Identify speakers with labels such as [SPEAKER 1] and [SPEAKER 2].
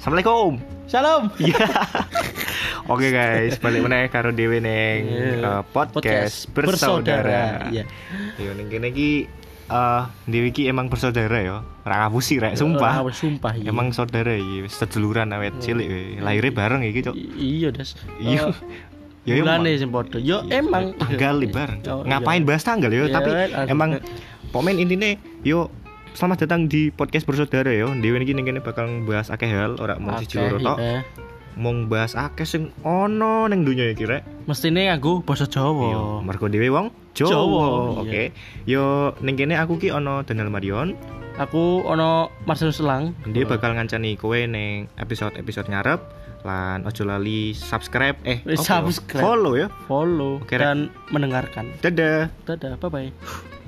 [SPEAKER 1] Assalamualaikum.
[SPEAKER 2] Shalom.
[SPEAKER 1] Iya. Oke guys, balik meneh karo dhewe neng
[SPEAKER 2] Iya.
[SPEAKER 1] eh, podcast, bersaudara.
[SPEAKER 2] Iya.
[SPEAKER 1] Yo ning kene iki eh dhewe iki emang bersaudara yo. Ora ngapusi rek,
[SPEAKER 2] Orang
[SPEAKER 1] sumpah.
[SPEAKER 2] awal sumpah iya.
[SPEAKER 1] Emang saudara iki wis seduluran awet cilik we. Lahirnya bareng iki, Cok.
[SPEAKER 2] I- iya, Das.
[SPEAKER 1] Iya.
[SPEAKER 2] Ya bulane sing padha. Yo emang
[SPEAKER 1] tanggal libar
[SPEAKER 2] Oh, iya.
[SPEAKER 1] ngapain bahas tanggal yo
[SPEAKER 2] Iya,
[SPEAKER 1] tapi
[SPEAKER 2] kan,
[SPEAKER 1] emang
[SPEAKER 2] aduh.
[SPEAKER 1] pomen intinya yo selamat datang di podcast bersaudara yo dewi ini kene bakal bahas akeh hal ora mau siji
[SPEAKER 2] Akeh,
[SPEAKER 1] loro tok
[SPEAKER 2] iya.
[SPEAKER 1] mau bahas akeh sing ono ning dunia iki rek
[SPEAKER 2] Mestine aku basa
[SPEAKER 1] yo
[SPEAKER 2] Jawa.
[SPEAKER 1] mergo dhewe wong Jawa,
[SPEAKER 2] Oh. Jawa, iya.
[SPEAKER 1] oke yo ning kene aku ki ono Daniel Marion
[SPEAKER 2] Aku ono Marcelus Selang.
[SPEAKER 1] dia bakal ngancani kowe ning episode-episode ngarep lan ojo lali subscribe eh
[SPEAKER 2] Wis
[SPEAKER 1] apa yo?
[SPEAKER 2] subscribe.
[SPEAKER 1] follow yo
[SPEAKER 2] follow
[SPEAKER 1] Oke, Rek.
[SPEAKER 2] dan mendengarkan.
[SPEAKER 1] dadah
[SPEAKER 2] Dadah, bye bye.